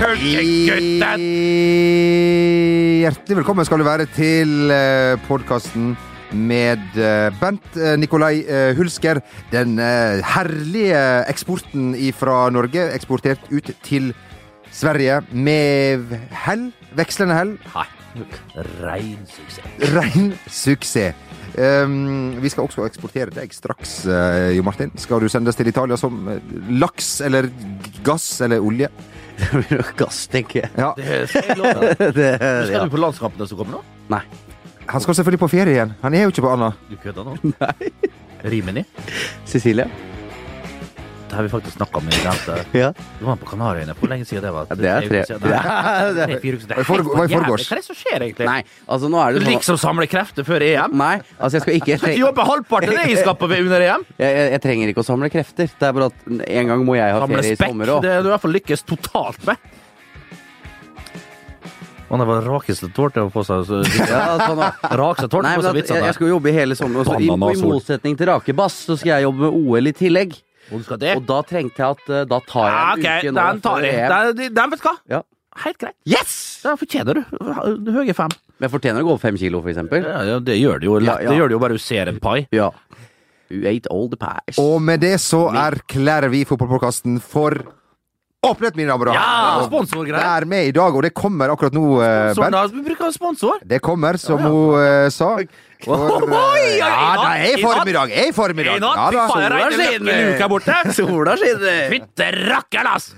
Gutta! Hjertelig velkommen skal du være til eh, podkasten med eh, Bent eh, Nikolai eh, Hulsker. Den eh, herlige eksporten fra Norge, eksportert ut til Sverige med hell, vekslende hell. Nei, rein suksess. Rein suksess. Um, vi skal også eksportere deg straks, eh, Jo Martin. Skal du sendes til Italia som eh, laks eller g- gass eller olje? Det blir nok gass, tenker jeg. Ja, Det skal jeg love deg. Det, Skal ja. du på landskampen som kommer nå? Nei. Han skal selvfølgelig på ferie igjen. Han er jo ikke på Anna. Du kødder nå? Nei. Rimini? Cecilie? Det har vi faktisk snakka om i jente. Ja. Du var på Kanariøyene. Hvor lenge siden det var? Ja, det er tre- Ja, det er- Tre-fire uker siden. Det Hva i er forgå- hva helt i for jævlig. forgårs? Hva er det som skjer, egentlig? Nei, altså nå er Du det sånn liksom samler krefter før EM? Nei, altså jeg skal ikke jeg, Du treng, jobber halvparten av det jeg skaper ved under E EM. jeg, jeg, jeg trenger ikke å samle krefter. Det er bare at en gang må jeg ha Samle ferie i spekk. sommer òg. Det er du i hvert fall lykkes totalt med. Man var det rakeste tårtet å få seg. så- Ja, sånn, da. Rakeste tårtet Nei, på seg men at, jeg, vitsene. jeg skal jo jobbe hele sommeren. og så i, Banan og og I sol. motsetning til rakebass så skal jeg jobbe med OL i tillegg. Hvor du skal det? Og da trengte jeg at eh, Da tar jeg Ja, en Ah, ok, uke nå. den tar før jeg. EM. Den, den vet du hva? Ja. Helt greit. Yes! Den fortjener du. Du Høye fem. Men jeg fortjener å gå opp fem kilo, for eksempel. Ja, ja, det gjør det jo lett. Ja, ja. Det gjør det jo bare du ser en pai. Ja. You ate all the pies. Og med det så erklærer vi fotballpodkasten for åpnet, mine damer og Ja, eh? herrer. sponsorgreier. Vær med i dag, og det kommer akkurat nå, eh, Sånn, Bernt. da, vi bruker sponsor. Det kommer, som hun eh, sa. For, eh, ja, i ja, natt, da, jeg er i i natt. form i dag. Jeg er i form i dag. Ja, da. Sola skinner! Fytte rakkeren, ass!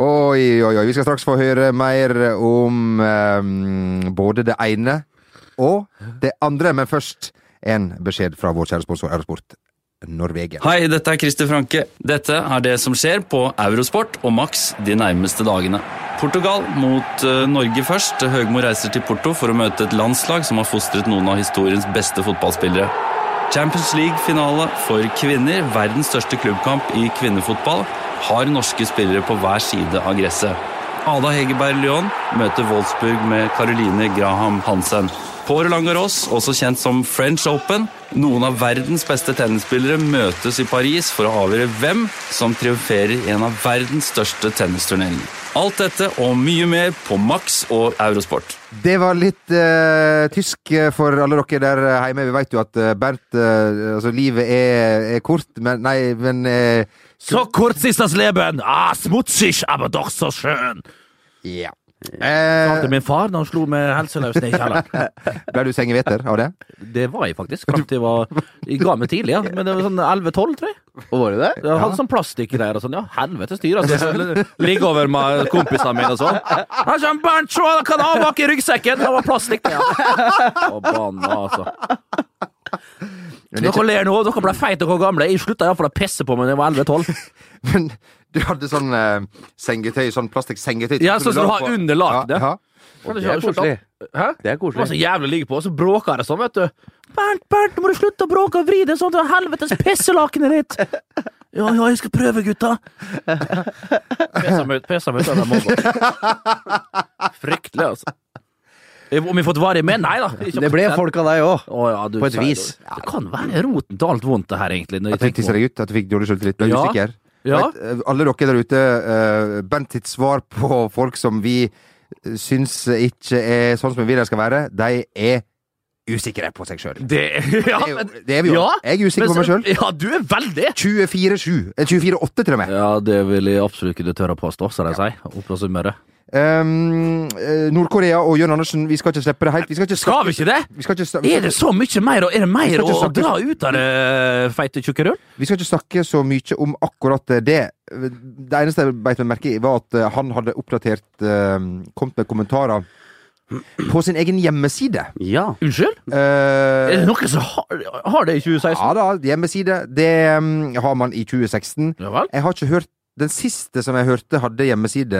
Oi, oi, oi. Vi skal straks få høre mer om eh, både det ene og det andre, men først en beskjed fra vår kjære sponsor Eurosport Norvegia. Hei, dette er Christer Franke. Dette er det som skjer på Eurosport og Max de nærmeste dagene. Portugal mot eh, Norge først. Høgmo reiser til Porto for å møte et landslag som har fostret noen av historiens beste fotballspillere. Champions League-finale for kvinner, verdens største klubbkamp i kvinnefotball, har norske spillere på hver side av gresset. Ada Hegerberg Lyon møter Wolfsburg med Caroline Graham Hansen. På Roland Garros, også kjent som French Open, noen av verdens beste tennisspillere møtes i Paris for å avgjøre hvem som triumferer i en av verdens største tennisturneringer. Alt dette og mye mer på Max og Eurosport. Det var litt eh, tysk eh, for alle dere der hjemme. Vi veit jo at eh, Bernt eh, Altså, livet er, er kort, men Nei, men eh, Så kort sist das Leben! Ah, smutzig, aber doch so schön! Ja. Talte Eh, min far da han slo med helseløs ned i kjelleren. ble du sengeveter av det? Det var jeg faktisk. Fram til jeg var Jeg ga meg tidlig, ja. Men det var sånn 11-12, tror jeg. Og var det det? Jeg hadde sånn plastikkgreier og sånn. Ja, helvete styr, altså. Så Ligge over med kompisene mine og sånn. Han sa, Bernt, se, han kan ha bak i ryggsekken! Det var plastikk, det, ja. Forbanna, altså. Dere ler nå, dere ble feite og gamle. Jeg slutta iallfall å pisse på meg da jeg var 11-12. Men du hadde sånn eh, sengetøy, sånn plastikksengetøy Ja, sånn som du har under lakenet. Ja, ja. Kan du Det ikke er ha sluttet? koselig. Hæ? Altså, Det er Det var så koselig. jævlig å ligge på, og så bråka det sånn, vet du. Bernt, Bernt, nå må du slutte å bråke og vri det sånn til helvetes pisselakenet ditt! Ja, ja, jeg skal prøve, gutta. Pesa meg ut, pesa meg ut av den mobba. Fryktelig, altså. Om vi fått varig med? Nei da. ikke Det ble fått- folk av deg òg. Å, ja, du på et sier det. vis. Det kan være roten til alt vondt, det her, egentlig. Når jeg At du tissa tenker på det. deg ut? At du fikk dårlig selvtillit? Ble du Ja. usikker? Ja. Vet, eh, alle dere der ute, eh, Bent sitt svar på folk som vi eh, syns ikke er sånn som vi vil de skal være, de er usikre på seg sjøl. Det, ja, Det er men, jo- det er vi jo. Ja, Jeg er usikker på men meg så- sjøl. Ja, du er veldig! 24-7. eh, 24-8, til og med. Ja, det vil jeg absolutt ikke tørre å påstå, som de sier. Oppblåssummere. Um, eh, Nord-Korea og Jørn Andersen, vi skal ikke slippe det helt. Vi skal ikke Skal vi ikke det? Vi skal ikke, sta- vi Er skal, det så mye mer, å- er det Vi mer skal å ikke å snakke- dra ut av det eh, feite tjukke rull? vi skal ikke snakke så mye om akkurat det. Det eneste jeg beit meg merke i, var at eh, han hadde oppdatert eh, Kommet med kommentarer på sin egen hjemmeside. Ja. Unnskyld? Eh, Er det noen som har, har det i 2016? ja da, hjemmeside. Det mm, har man i 2016. Ja vel? Jeg har ikke hørt Den siste som jeg hørte hadde hjemmeside,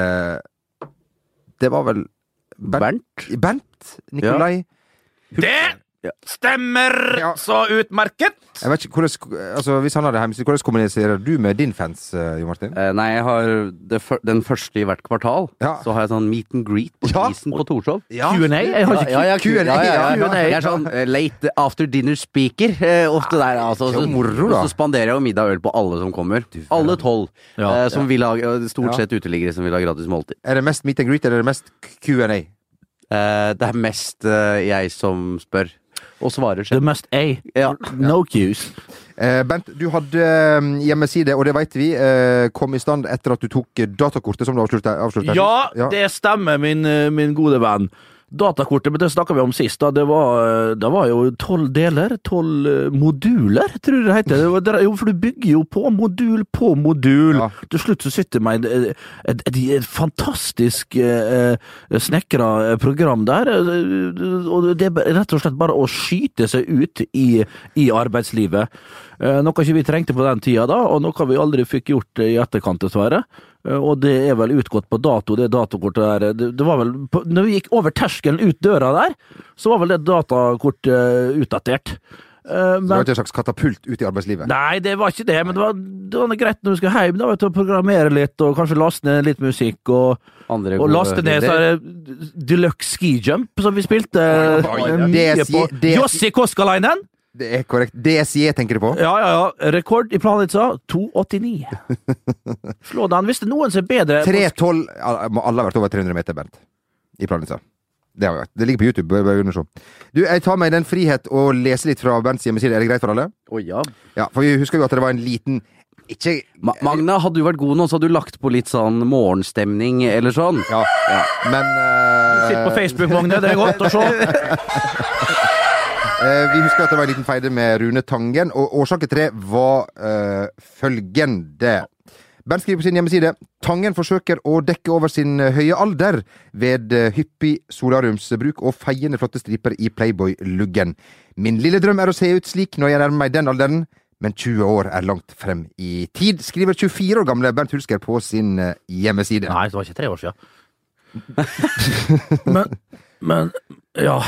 det var vel Bernt, Bernt. Bernt Nikolai Det Ja. Stemmer Ja. så utmerket! Jeg vet ikke, hvordan, altså, hvis han hadde hjemmeside, hvordan kommuniserer du med din fans, eh, Jo Martin? Eh, nei, jeg har det, fyr- den første i hvert kvartal. Ja. Så har jeg sånn meet and greet på Ja. Prisen på Torshov. Q&A? Jeg har ikke Ja, ja, Q- Q&A, ja, ja, ja. ja. Jeg er sånn eh, late after dinner speaker eh, ofte der. Altså, Det er jo moro, da. og så spanderer jeg jo middag og øl på alle som kommer. Alle tolv. Ja. eh, som vil ha, eh, Ja. stort sett uteliggere som vil ha gratis måltid. Er det mest meet and greet, eller er det mest Q&A? Eh, det er mest eh, jeg som spør. Og svarer The selv. must A. Ja. No cues. Eh, Bent, du hadde eh, hjemmeside, og det veit vi, eh, kom i stand etter at du tok eh, datakortet, som du avslutta avslutta Ja, sist. ja. det stemmer, min, eh, min gode venn. Datakortet, men det snakka vi om sist. da, Det var, eh, det var jo tolv deler. Tolv eh, moduler, tror jeg det heter. Det var- det er jo, for du bygger jo på modul på modul. Ja. Til slutt så sitter man i et, et, et, et fantastisk eh, snekra program der. eh, Og det er bare- rett og slett bare å skyte seg ut i, i arbeidslivet. Eh, Noe ikke vi trengte på den tida da, og noe vi aldri fikk gjort eh, i etterkant, dessverre. Eh, Og det er vel utgått på dato, det datakortet der. Det, det var vel på, når vi gikk over terskelen ut døra der, så var vel det datakortet eh, utdatert. Eh, Så det var Men, ikke en slags katapult ut i arbeidslivet? nei, det var ikke det, men det var, det var noe greit når du skulle hjem, da, vet du, å programmere litt, og kanskje laste ned litt musikk, og, Andre og gode laste ned så lyder. er det Deluxe Ski Jump, som vi spilte eh, Oi, oi, oi. mye DSJ, på. DSJ. Jossi Koskalainen! Det er korrekt. DSJ tenker du på? Ja, ja, ja. Rekord i Planica, 2,89. Slå den hvis det er noen som er bedre. 312 al- Må alle ha vært over 300 meter, Bent. I Planica. Det har vi vært. Det ligger på YouTube. Bør, bør underså. Du, jeg tar meg den frihet å lese litt fra Bents hjemmeside. Er det greit for alle? Å, ja. Ja, for vi husker jo at det var en liten Ikke Ma Magna, hadde du vært god nå, så hadde du lagt på litt sånn morgenstemning eller sånn. Ja, men eh, Sitt på Facebook, Magne. Det er godt å se. eh, Vi husker at det var en liten feide med Rune Tangen, og årsaken til det var eh, følgende. Bernt skriver på sin hjemmeside Tangen forsøker å dekke over sin eh, høye alder ved eh, hyppig solariumsbruk og feiende flotte striper i Playboy-luggen. Min lille drøm er å se ut slik når jeg nærmer meg den alderen, men 20 år er langt frem i tid, skriver 24 år gamle Bernt Hulsker på sin eh, hjemmeside. Nei, det var ikke tre år siden. men, men ja.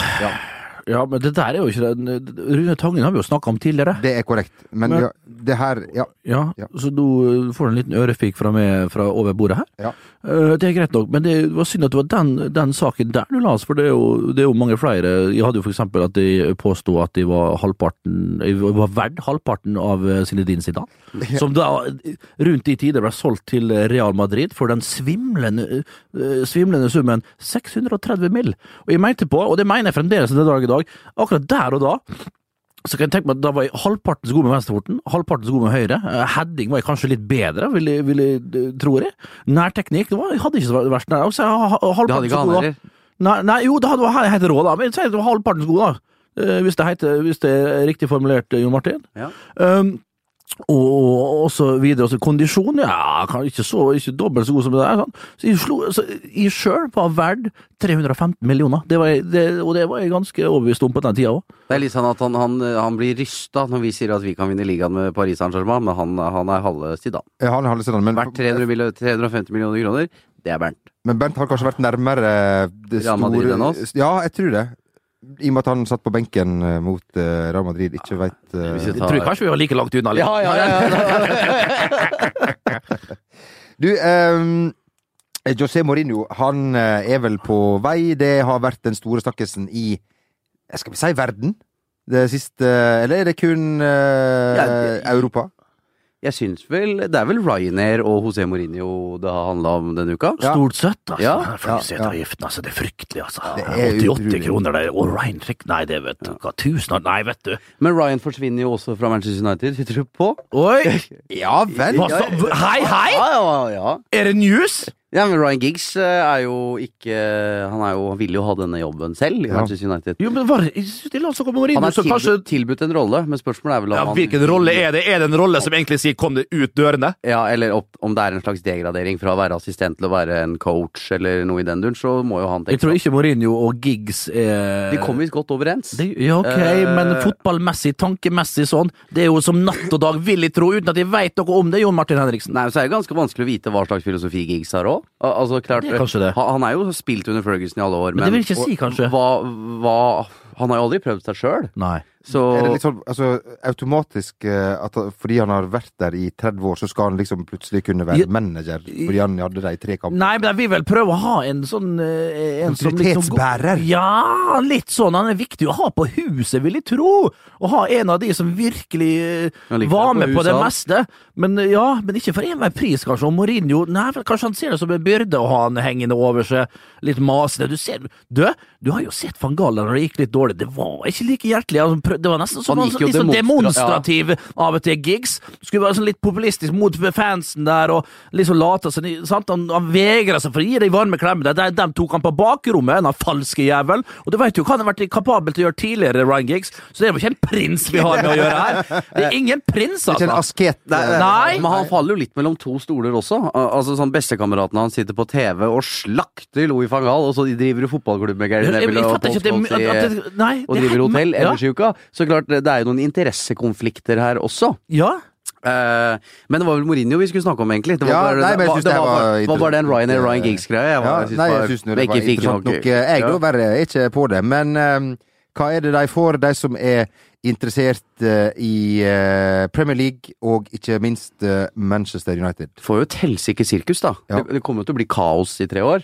ja. men det der er jo ikke den Rune Tangen har vi jo snakka om tidligere. Det er korrekt, men, Men- ja, det her Ja. Ja, Ja. Så nå får du en liten ørefik fra meg fra over bordet her. ja. Eh, Det er greit nok, men det var synd at det var den, den saken der du la oss, for det er, jo, det er jo mange flere. Jeg hadde jo for eksempel at de påsto at de var halvparten de var verdt halvparten av eh, Zinedine Zidane. Som da eh, rundt de tider ble solgt til Real Madrid for den svimlende, eh, svimlende summen 630 mill. Og jeg mente på, og det mener jeg fremdeles den dag i dag, akkurat der og da så kan jeg tenke meg at Da var jeg halvparten så god med venstrefoten, halvparten så god med høyre. Eh, Heading var jeg kanskje litt bedre, vil jeg, vil jeg, eh, tror jeg. Nærteknikk det var, jeg hadde ikke så verst nær. Altså, jeg har- har- Det hadde halvparten ikke så han god, da. heller. Nei, nei jo, det hadde jeg heter rå, da. Men jeg sier det var halvparten så god, da. Eh, Hvis det, heter, hvis det er riktig formulert, eh, Jon Martin. Ja. Um, og, og så videre. Også kondisjon, ja, kan- ikke, så, ikke dobbelt så god som det der. Sånn. Så jeg, slo, så jeg sjøl var verdt 315 millioner, det var, jeg- det, og det var jeg ganske overbevist om på den tida òg. Det er litt sånn at han, han, han blir rysta når vi sier at vi kan vinne ligaen med Paris Saint-Germain, men han, han er halve Zidane. Ja, Han har litt sånn, men Verdt 300 mill- 350 millioner kroner, det er Bernt. Men Bernt har kanskje vært nærmere eh, det Real Madrid store- enn oss? Ja, jeg tror det. I og med at han satt på benken eh, mot eh, Real Madrid, ikke veit Hvis eh. vi Jeg tar- tror kanskje vi var like langt unna. litt. ja, Du, eh, José Mourinho, han eh, er vel på vei. Det har vært den store snakkisen i eh, Skal vi si verden? Det siste Eller er det kun eh, Ja, det- Europa? Jeg syns vel Det er vel Ryanair og José Mourinho det har handla om denne uka? Ja. Stort sett, altså. Ja, Ja, Flyseteavgiften, altså. Det er fryktelig, altså. Det er 88 utrolig. kroner, det. er- Og regntrykk, nei, det vet du hva. Tusen av Nei, vet du. Men Ryan forsvinner jo også fra Manchester United, vi tror på. Oi! Ja vel! Hva sa Hei, hei! Ja, ja, ja. Er det news? ja men Ryan Giggs eh, er jo ikke Han er jo, han ville jo ha denne jobben selv i Ja. Manchester United. Jo, men var det La oss komme Han inn, er så tilbudt, kanskje tilbudt en rolle, men spørsmålet er vel om ja, han Hvilken rolle er det? Er det en rolle som egentlig sier 'kom deg ut dørene'? Ja, eller opp, om det er en slags degradering fra å være assistent til å være en coach eller noe i den duren, så må jo han tenke ikke Mourinho og Giggs er De kom visst godt overens. Det, ja, ok, Eh, men fotballmessig, tankemessig sånn, det er jo som natt og dag, vil jeg tro, uten at jeg veit noe om det, Jon Martin Henriksen. Nei, men så er det ganske vanskelig å vite hva slags filosofi Giggs har òg. Altså, klart, Det er kanskje det. Han han er jo spilt under Ferguson i alle år, Men det vil jeg ikke si, og- kanskje. Hva, hva Han har jo aldri prøvd seg sjøl, Nei. så Er det litt sånn altså, automatisk eh, at fordi han har vært der i 30 år, så skal han liksom plutselig kunne være Ja. manager fordi han hadde de tre kampene? Nei, men jeg vil vel prøve å ha en sånn eh, en som liksom går- Autoritetsbærer. Ja, litt sånn. Han er viktig å ha på huset, vil jeg tro. Å ha en av de som virkelig eh, Han liker var det på med på huset, det han. meste. Men eh, ja, men ikke for enhver pris, kanskje. Og Mourinho nei, vel, Kanskje han ser det som en byrde å ha han hengende over seg. Litt masete. Du ser Du, du har jo sett van Gaal når det gikk litt dårlig. Det var ikke like hjertelig. Han prøv- Det var nesten som Han han gikk jo litt sånn demonstra- demonstrativ av og til gigs. Skulle være sånn litt populistisk mot fansen der og liksom late seg sant? Han, han vegra seg for å gi de varme klemmene. De, de tok han på bakrommet, den falske jævel. Og du vet jo hva han har vært kapabel til å gjøre tidligere, Ryan Giggs, så det er jo ikke en prins vi har med å gjøre her. Det er ingen prins, Ikke en altså. asket? eh, Nei. Men han faller jo litt mellom to stoler også. Al altså sånn Bestekameraten hans sitter på TV og slakter Louis van Gaal, og så de driver jo fotballklubb med Gary Jeg, jeg, Neville jeg og fatter Paul ikke at det, at, Scholes i- at det Nei. og det er driver helt- hotell ja, ellers i uka. Så klart, det er jo noen interessekonflikter her også. Ja. Eh, men det var vel Mourinho vi skulle snakke om, egentlig. Det var Ja, bare, nei, men jeg det var- synes det det var, var bare- var bare den Ryan interessant, Ryan eh, Giggs-greia. Jeg, Ja, var- jeg synes nei, bare- jeg syns nå det ikke var fikk interessant nok- nok. eh, Jeg Ja. da verre er ikke på det. Men eh, hva er det de får, de som er interessert eh, i eh, Premier League og ikke minst eh, Manchester United? får jo et helsike sirkus, da. Ja. Det, det kommer jo til å bli kaos i tre år.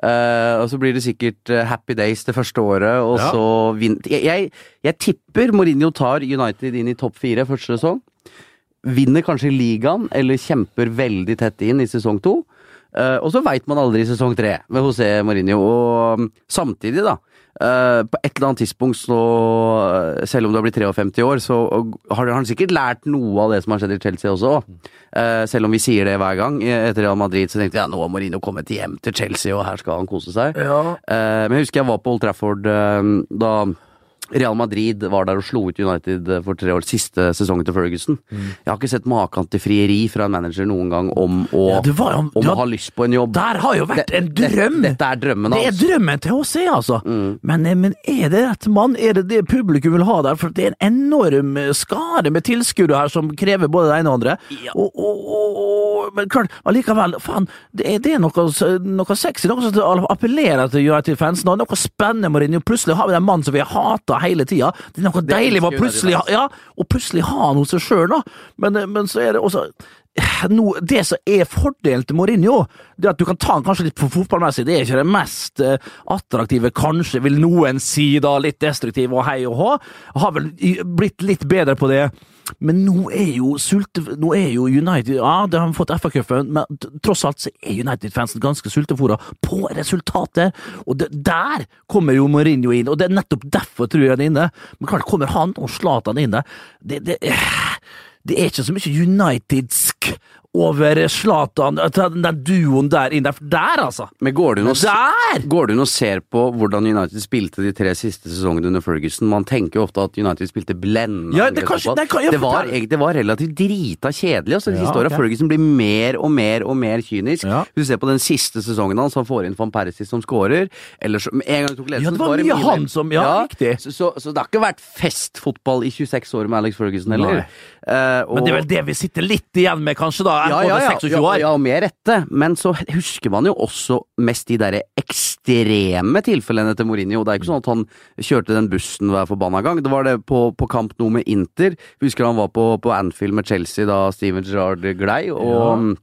Eh, og så blir det sikkert eh, Happy Days det første året, og Ja. så vin jeg, jeg, jeg tipper Mourinho tar United inn i topp fire første sesong. Vinner kanskje ligaen, eller kjemper veldig tett inn i sesong to. Eh, og så veit man aldri i sesong tre med José Mourinho. Og mm, samtidig, da. eh, på et eller annet tidspunkt, så, eh, selv om du har blitt 53 år, så har han sikkert lært noe av det som har skjedd i Chelsea også. Eh, selv om vi sier det hver gang. Eh, Etter Real Madrid så tenkte jeg ja, nå har Mourinho kommet hjem til Chelsea, og her skal han kose seg. Ja. Eh, Men jeg husker jeg var på Old Trafford eh, da Real Madrid var der og slo ut United eh, for tre år. Siste sesongen til Ferguson. Mm. Jeg har ikke sett maken til frieri fra en manager noen gang om å, Ja, det var- om ja, å ha lyst på en jobb. Der har jo vært en Det- drøm! Dette er drømmen Det er hans. drømmen til HC, altså. Men, men er det rett mann? Er det det publikum vil ha der? For det er en enorm eh, skare med tilskuere her som krever både det ene og det andre. Og, og, og, og, men klart, allikevel, faen, det er, det er noe, s- noe sexy, noe som appellerer til United-fansen, og noe spennende med det. Plutselig har vi den mannen som vi har hata hele tida. Det er noe deilig med å elsker plutselig ha United-fans. ja, og plutselig har han hos seg sjøl, da. Men, eh, men så er det også no, Det som er fordelen til Mourinho, det er at du kan ta han kanskje litt for fotballmessig. Det er ikke det mest eh, attraktive, kanskje, vil noen si, da. Litt destruktiv og hei og hå. Har vel i- blitt litt bedre på det. Men nå er jo sulte... Nå er jo United Ja, det har vi fått FA-cupen, men t- tross alt så er United-fansen ganske sultefòra på resultater. Og det, der kommer jo Mourinho inn, og det er nettopp derfor tror jeg han er inne. Men klart kommer han og Zlatan inn der. Det, det, det er ikke så mye unitedsk over Zlatan, at den den duoen der inne. For der, altså! Men går du inn og se- Der! Går du inn og ser på hvordan United spilte de tre siste sesongene under Ferguson? Man tenker jo ofte at United spilte blendende Ja, det kanskje- angrepsfotball. det kan jeg det, var, fortelle. egentlig- det var relativt drita kjedelig. Altså, Ja, Historia ok. Ferguson blir mer og mer og mer kynisk. Ja. Du ser på den siste sesongen hans, han får inn van Persie som scorer. Eller som en gang tok ledelsen. Ja, det var så mye Mile- han som- ja, riktig. Så, så, så det har ikke vært festfotball i 26 år med Alex Ferguson heller. Nei. Eh, og- Men det er vel det vi sitter litt igjen med, kanskje, da. ja, Både ja, ja, 26 ja, år. ja, og med rette. Men så husker man jo også mest de derre ekstreme tilfellene til Mourinho. Det er ikke sånn at han kjørte den bussen hver forbanna gang. Det var det på, på kamp nå med Inter. Husker han var på, på Anfield med Chelsea da Steven Gerrard glei. og... um, Ja.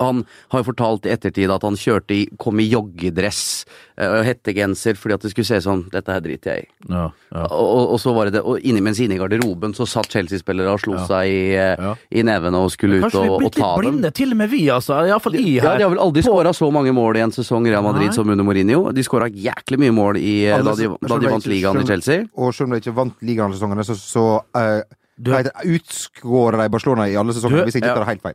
Han har jo fortalt i ettertid at han kjørte i, kom i joggedress eh, og hettegenser fordi at det skulle se sånn Dette her driter jeg i. Ja, ja. Og, og- og så var det det, og inni, mens inne i garderoben så satt Chelsea-spillere og slo seg i, eh, Ja. i nevene og skulle ut Kanskje vi og, er og blitt ta litt dem. blinde, til og med vi, altså. Iallfall i Ja, her. de har vel aldri skåra så mange mål i en sesong, Real Madrid, Nei. som under Mourinho. De skåra jæklig mye mål i, eh, da, de, da de vant ligaen i Chelsea. Og selv om de ikke vant ligaen alle sesongene, så, så eh, Du- hva heter det, utskårer de Barcelona i alle sesongene, Du- hvis jeg ikke ja. tar helt feil.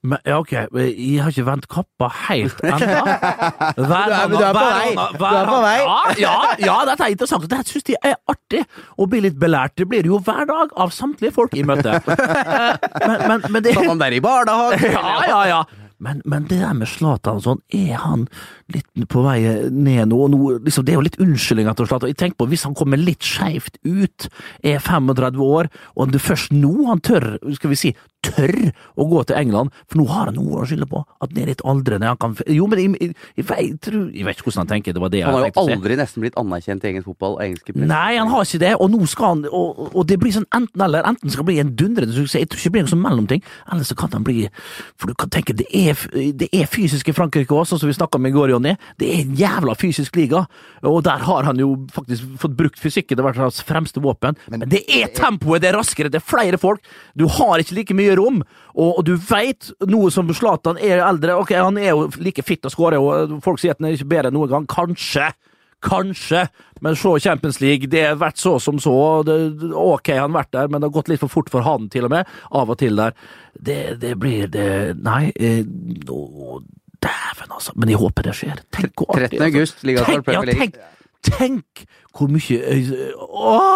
Men, ja, ok, jeg har ikke vendt kappa helt ennå. Hver er- du er på vei. Du er på vei. Ja, ja, ja, dette er interessant. og Dette syns jeg er artig å bli litt belært. Det blir det jo hver dag av samtlige folk i møtet. Eh, Men, men, men det Satt han der i barnehage? Ja, ja, ja. Men, men det der med Zlatan og sånn, er han litt på vei ned nå? Og nå liksom, det er jo litt unnskyldninger til Zlatan. Jeg tenker på Hvis han kommer litt skeivt ut, er 35 år, og det er først nå han tør skal vi si, tør å gå til England, for nå har han noe å skylde på. At han er litt aldrende. Han kan, jo, men jeg, jeg, jeg, vet- jeg, tror- jeg vet ikke hvordan han tenker. Det var det jeg Han har jo tenkte å si. aldri nesten blitt anerkjent i engelsk fotball. og engelske press. Nei, han har ikke det, og nå skal han Og, og det blir sånn enten eller. Enten skal det bli en dundrende suksess, jeg tror ikke det blir noe sånn mellomting, eller så kan han bli For du kan tenke, det er, f- det er fysisk i Frankrike òg, sånn som vi snakka om i går, Jonny. Det er en jævla fysisk liga, og der har han jo faktisk fått brukt fysikken, det har vært hans fremste våpen. Men, det er tempoet, det er raskere, det er flere folk, du har ikke like mye rom, og, og du veit noe som Zlatan er eldre Ok, han er jo like fitt og skårer, og folk sier at han er ikke bedre enn noen gang. Kanskje. Kanskje, men se Champions League, det har vært så som så. Det, det- ok, han har vært der, men det har gått litt for fort for han, til og med. Av og til der. Det, det blir det Nei. Eh, å, dæven, altså. Men jeg håper det skjer. Tenk hvor 13. august, altså, ligastart Tenk, ja, Premier League. tenk, tenk hvor mye øy-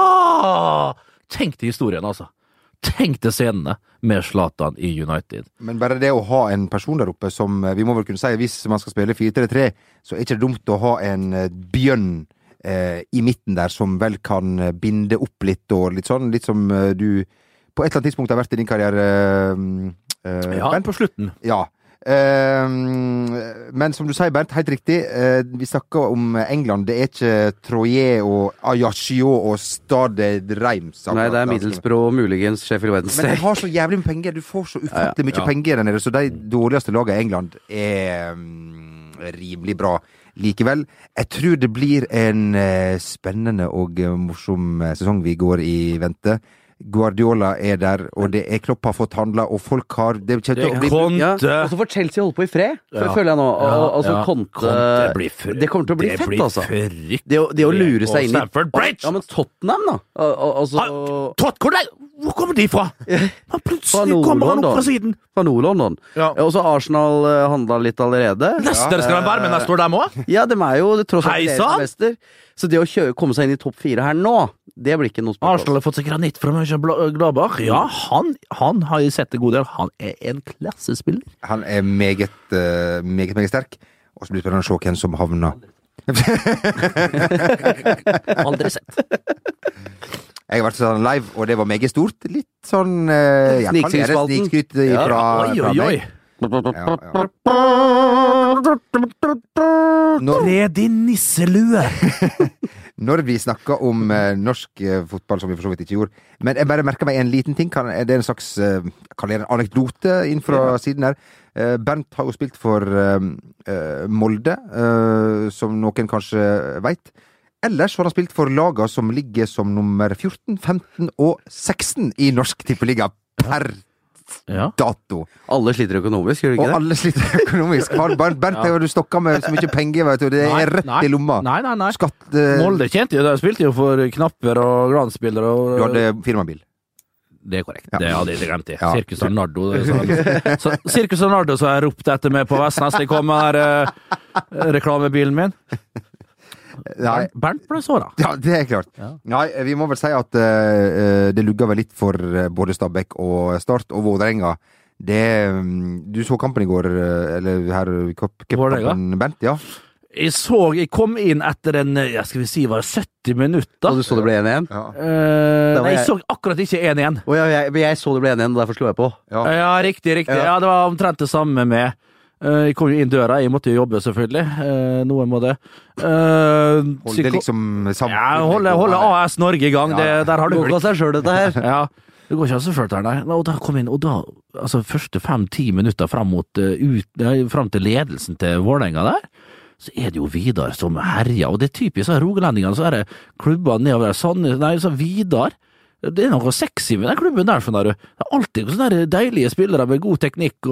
Åh! Tenk til historien, altså. Tenk til scenene med Zlatan i United. Men bare det å ha en person der oppe som eh, Vi må vel kunne si hvis man skal spille 4-3-3, så er ikke det dumt å ha en eh, bjørn eh, i midten der som vel kan eh, binde opp litt og litt sånn. Litt som eh, du på et eller annet tidspunkt har vært i din karriere, eh, eh, Ja, Bernt. på slutten. Ja. Eh, men som du sier, Bernt, helt riktig. eh, vi snakker om England. Det er ikke Troyer og Ajaccio og Stade Reims. Nei, det er akkurat. altså. Middlesbrough og muligens Sheffield Men de Wednesday. har så jævlig med penger. Du får så ufattelig mye Ja. penger der nede, så de dårligste lagene i England er mm, rimelig bra likevel. Jeg tror det blir en eh, spennende og eh, morsom eh, sesong vi går i vente. Guardiola er der, og det er Klopp har fått handla, og folk har Det kommer til å bli Ja, og så får Chelsea holde på i fred, Ja. føler jeg nå. Og, Ja, altså, ja. Conte, Conte blir for- det kommer til å bli det fett, blir altså. fryktelig. Det å, det å lure seg inn i Og Stamford Bridge! Ja, men Tottenham, da. Al- al- Altså Han- Todd, hvor, er- hvor kommer de fra? Han Fra plutselig Nord- kommer han opp London. fra siden. fra Nord-London. Ja. Ja, Også Arsenal eh, handla litt allerede. Leicester skal han være med neste år, dem òg? Ja, dem er jo tross alt Hei deres sann! mester. Så det å kjø komme seg inn i topp fire her nå, det blir ikke noe spørsmål. Arsenal har fått seg granitt fra Mönchengladbach. Ja, han, han har jeg sett en god del. Han er en klassespiller. Han er meget, eh, meget, meget sterk. Og så blir det spennende å se hvem som havner Aldri sett. Jeg har vært sånn live, og det var meget stort. Litt sånn eh, ja, kan være Snikskrytspalten. Snikskryt eh, Ja. fra, Oi, fra oi, oi. meg. Ja, ja. Når, Tre din nisselue. Når vi snakker om eh, norsk eh, fotball, som vi for så vidt ikke gjorde Men jeg bare merker meg en liten ting. Kan, er det en slags eh, kan jeg gjøre en anekdote inn fra siden her? Eh, Bernt har jo spilt for eh, eh, Molde, eh, som noen kanskje veit. Ellers har han spilt for laga som ligger som nummer 14, 15 og 16 i norsk tippeliga per Ja. dato. Alle sliter økonomisk, gjør de Og ikke det? alle sliter økonomisk. Har Bernt, Bernt Ja. du stokker med så mye penger, vet du. Det Nei, er rett nei, i lomma. Nei, nei, nei. Skatt eh, Molde kjente jo det. Spilte jo for knapper og glansbilder og Du hadde firmabil. Det er korrekt. Ja. Det hadde jeg ikke glemt. i. Ja. Sirkus Arnardo. det sa han. Så Sirkus Arnardo som jeg ropte etter meg på Vestnes. Det kom her eh, reklamebilen min. Nei, Bernt ble såra. Ja, det er klart. Ja. Nei, vi må vel si at eh, eh, det lugga vel litt for eh, både Stabæk og Start og Vålerenga. Det mm, Du så kampen i går, eh, eller her i cup- cupkampen, Bernt? Ja. Jeg så Jeg kom inn etter en eh, jeg skal vi si, var det 70 minutter. Og du så det ble 1-1? ja. Eh, Da var nei, jeg jeg- så akkurat ikke 1-1. Å ja, jeg, men jeg så det ble 1-1, og derfor slo jeg på. Ja. Ja, riktig, riktig. Ja, Ja. det var omtrent det samme med eh, Jeg kom jo inn døra. Jeg måtte jo jobbe, selvfølgelig. Eh, noen må det. Uh, Holde liksom sammen. ja, holde, holde AS Norge i gang. Ja. Det, der har du Går ikke av seg sjøl, dette her. Ja, det går ikke an å følge der, nei. Nei, Og da kom jeg inn, og da, altså første fem-ti minutter fram, mot, eh, ut, nei, fram til ledelsen til Vålerenga der, så er det jo Vidar som herjer, og det er typisk sånn rogalendingene, så er det klubber nedover der, Sandnes, nei, så Vidar. Det er noe sexy med den klubben der, skjønner du. Det er alltid sånne der deilige spillere med god teknikk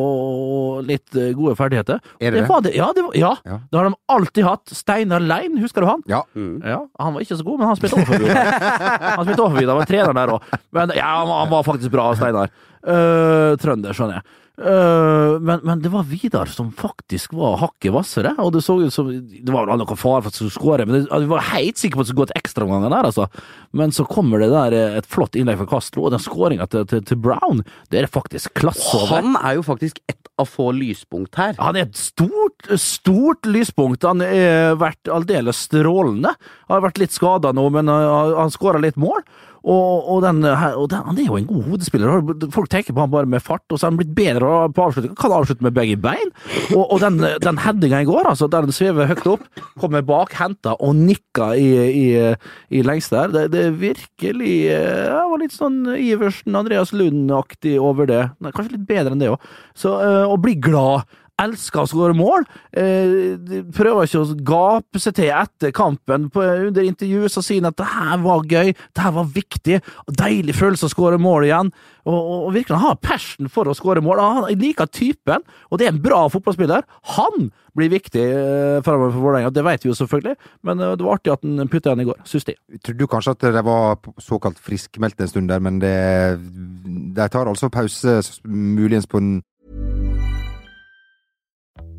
og litt eh, gode ferdigheter. Er det det? var det? Ja, det, var, ja, Ja. det har de alltid hatt. Steinar Lein, husker du han? Ja. Ja, han var ikke så god, men han spilte overfor Vidar. Han spilte overfor Vidar, han var trener der òg. Men ja, han, han var faktisk bra, Steinar. Eh, trønder, skjønner jeg. Eh, men, men det var Vidar som faktisk var hakket hvassere, og det så ut som Det var vel noe fare for at vi skulle skåre, men det, vi var helt sikre på at det skulle gå et ekstraomganger der, altså. Men så kommer det der eh, et flott innlegg fra Castro, og den skåringa til, til, til Brown, det er det faktisk klasse over. Han er jo faktisk ett av få lyspunkt her. Han er et stort, stort lyspunkt. Han har vært aldeles strålende. Han har vært litt skada nå, men eh, han skåra litt mål. Og, og, den, her- og den, han er jo en god hodespiller. Folk tenker på han bare med fart, og så er han blitt bedre på avslutning. Kan avslutte med begge bein. Og, og den, den headinga i går, altså, der den svever høyt opp, kommer bak, henter og nikker i, i, i lengste her, det, det er virkelig eh, Det var litt sånn Iversen, Andreas Lund-aktig over det. Nei, kanskje litt bedre enn det òg. Så eh, å bli glad elsker å skåre mål. Eh, de prøver ikke å gape seg til etter kampen. På, under intervjuet så sier han at det her var gøy, det her var viktig. Deilig følelse å skåre mål igjen. Og, og, og virkelig, han har passion for å skåre mål. Han jeg liker typen, og det er en bra fotballspiller. Han blir viktig eh, fremover for Vålerenga, det vet vi jo selvfølgelig, men eh, det var artig at han putta igjen i går, syns de. Jeg trodde jo kanskje at de var såkalt friskmeldt en stund der, men det, de tar altså pause, s- muligens på en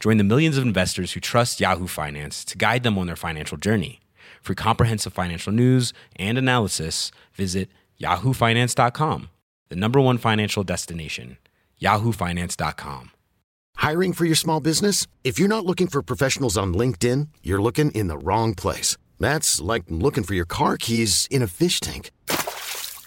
Join the millions of investors who trust Yahoo Finance to guide them on their financial journey. For comprehensive financial news and analysis, visit yahoofinance.com the number one financial destination, yahoofinance.com. Hiring for your small business? If you're not looking for professionals on LinkedIn, you're looking in the wrong place. That's like looking for your car keys in a fish tank.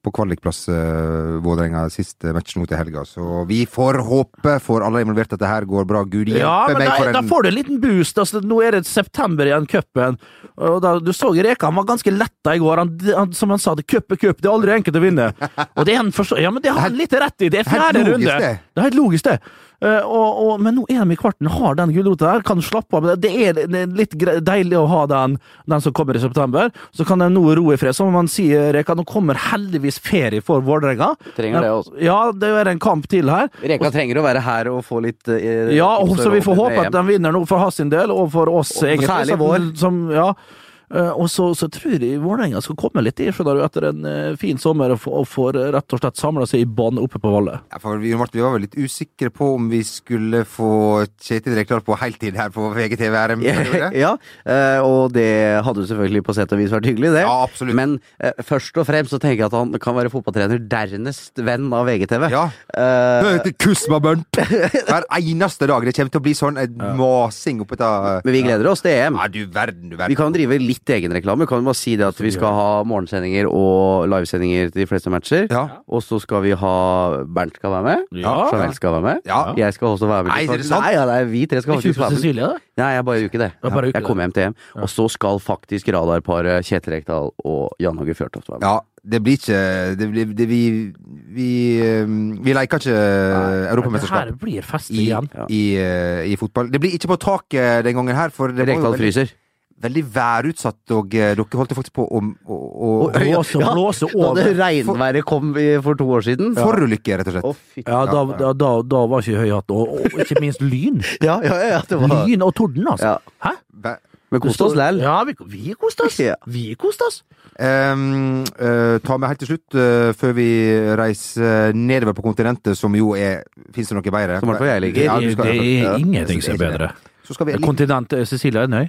på kvalikplass, eh, Vålerenga, sist eh, match nå til helga. Så vi får håpe for alle involverte at det her går bra. Gud hjelpe Ja, men meg da, for da en får du en liten boost. Altså, nå er det september igjen, cupen. Og da- Du så Reka, han var ganske letta i går. Han, han, som han sa, det cup er cup, det er aldri enkelt å vinne. Og det er han forstå... Ja, men det har han litt rett i. Det er Helt fjerde logisk, runde. det. Det er helt logisk, det. Eh, og, og, men nå er de i kvarten, har den gulrota der, kan slappe av. med Det Det er det er litt gre- deilig å ha den, den som kommer i september. Så kan de nå ro i fred. Som man sier, Reka, nå kommer heldigvis ferie for Vålerenga. Trenger det også. Ja, det er en kamp til her. Reka trenger å være her og få litt eh, Ja, og tips så vi får råd håpe at til de vinner nå for hans sin del, og for oss Og egentlig. særlig så- vår. Som, ja. Eh, Og så, så tror jeg Vålerenga skal komme litt i, skjønner du, etter en eh, fin sommer, og få- og får eh, rett og slett samla seg i bånn oppe på Valle. ja, for vi, Martin, vi var vel litt usikre på om vi skulle få Kjetil Rekdal på heltid her på VGTV RM. Ja, ja, eh, og det hadde jo selvfølgelig på sett og vis vært hyggelig, det. Ja, absolutt. Men eh, først og fremst så tenker jeg at han kan være fotballtrener, dernest venn av VGTV. Ja. Eh, Det heter Kusma-Bernt! Hver eneste dag. Det kommer til å bli sånn en masing oppi der. men vi gleder oss til EM. Ja, du verden, du Vi verden. kan jo drive litt egenreklame. Vi kan jo bare si det at vi skal ha morgensendinger og livesendinger til de fleste matcher. Ja. Og så skal vi ha Bernt skal være med. Ja. Jamel skal være med. Ja. Jeg skal også være med. Nei, er det sant? Nei, ja, nei, vi tre skal Ikke på faktisk være med. Cecilie, da? Nei, jeg bare gjør ikke det. Ja, bare gjør ikke E jeg kommer hjem til hjem. Og så skal faktisk radarparet Kjetil Rekdal og Jan Åge Fjørtoft være med. Ja, Det blir ikke det blir, det, Vi vi, um, vi leker ikke eh, Det europamesterskap her blir fest i, igjen. i, eh, i fotball. Det blir ikke på taket den gangen her, for det var jo Rekdal veldig, fryser. veldig værutsatt, og eh, dere holdt faktisk på å å- å- å- Blåse, blåse Da over. det regnværet kom i- for to år siden. Forulykke, rett og slett. Å, fy- Ja, da, da, da, da var ikke høy hatt. Og, og ikke minst lyn. Ja, ja, ja, det var Lyn og torden, altså. Ja. Hæ? Ba- Men koste oss læl. Ja, vi, vi koste oss. Ja. Vi koste oss. Ehm, eh, ta med helt til slutt, eh, før vi reiser nedover på kontinentet, som jo er Fins det noe bedre? Som i hvert fall jeg liker. Ja, du Det skal- er ja. ingenting som er bedre. Så skal vi, litt, Kontinent eh, Cecilia Øynøy.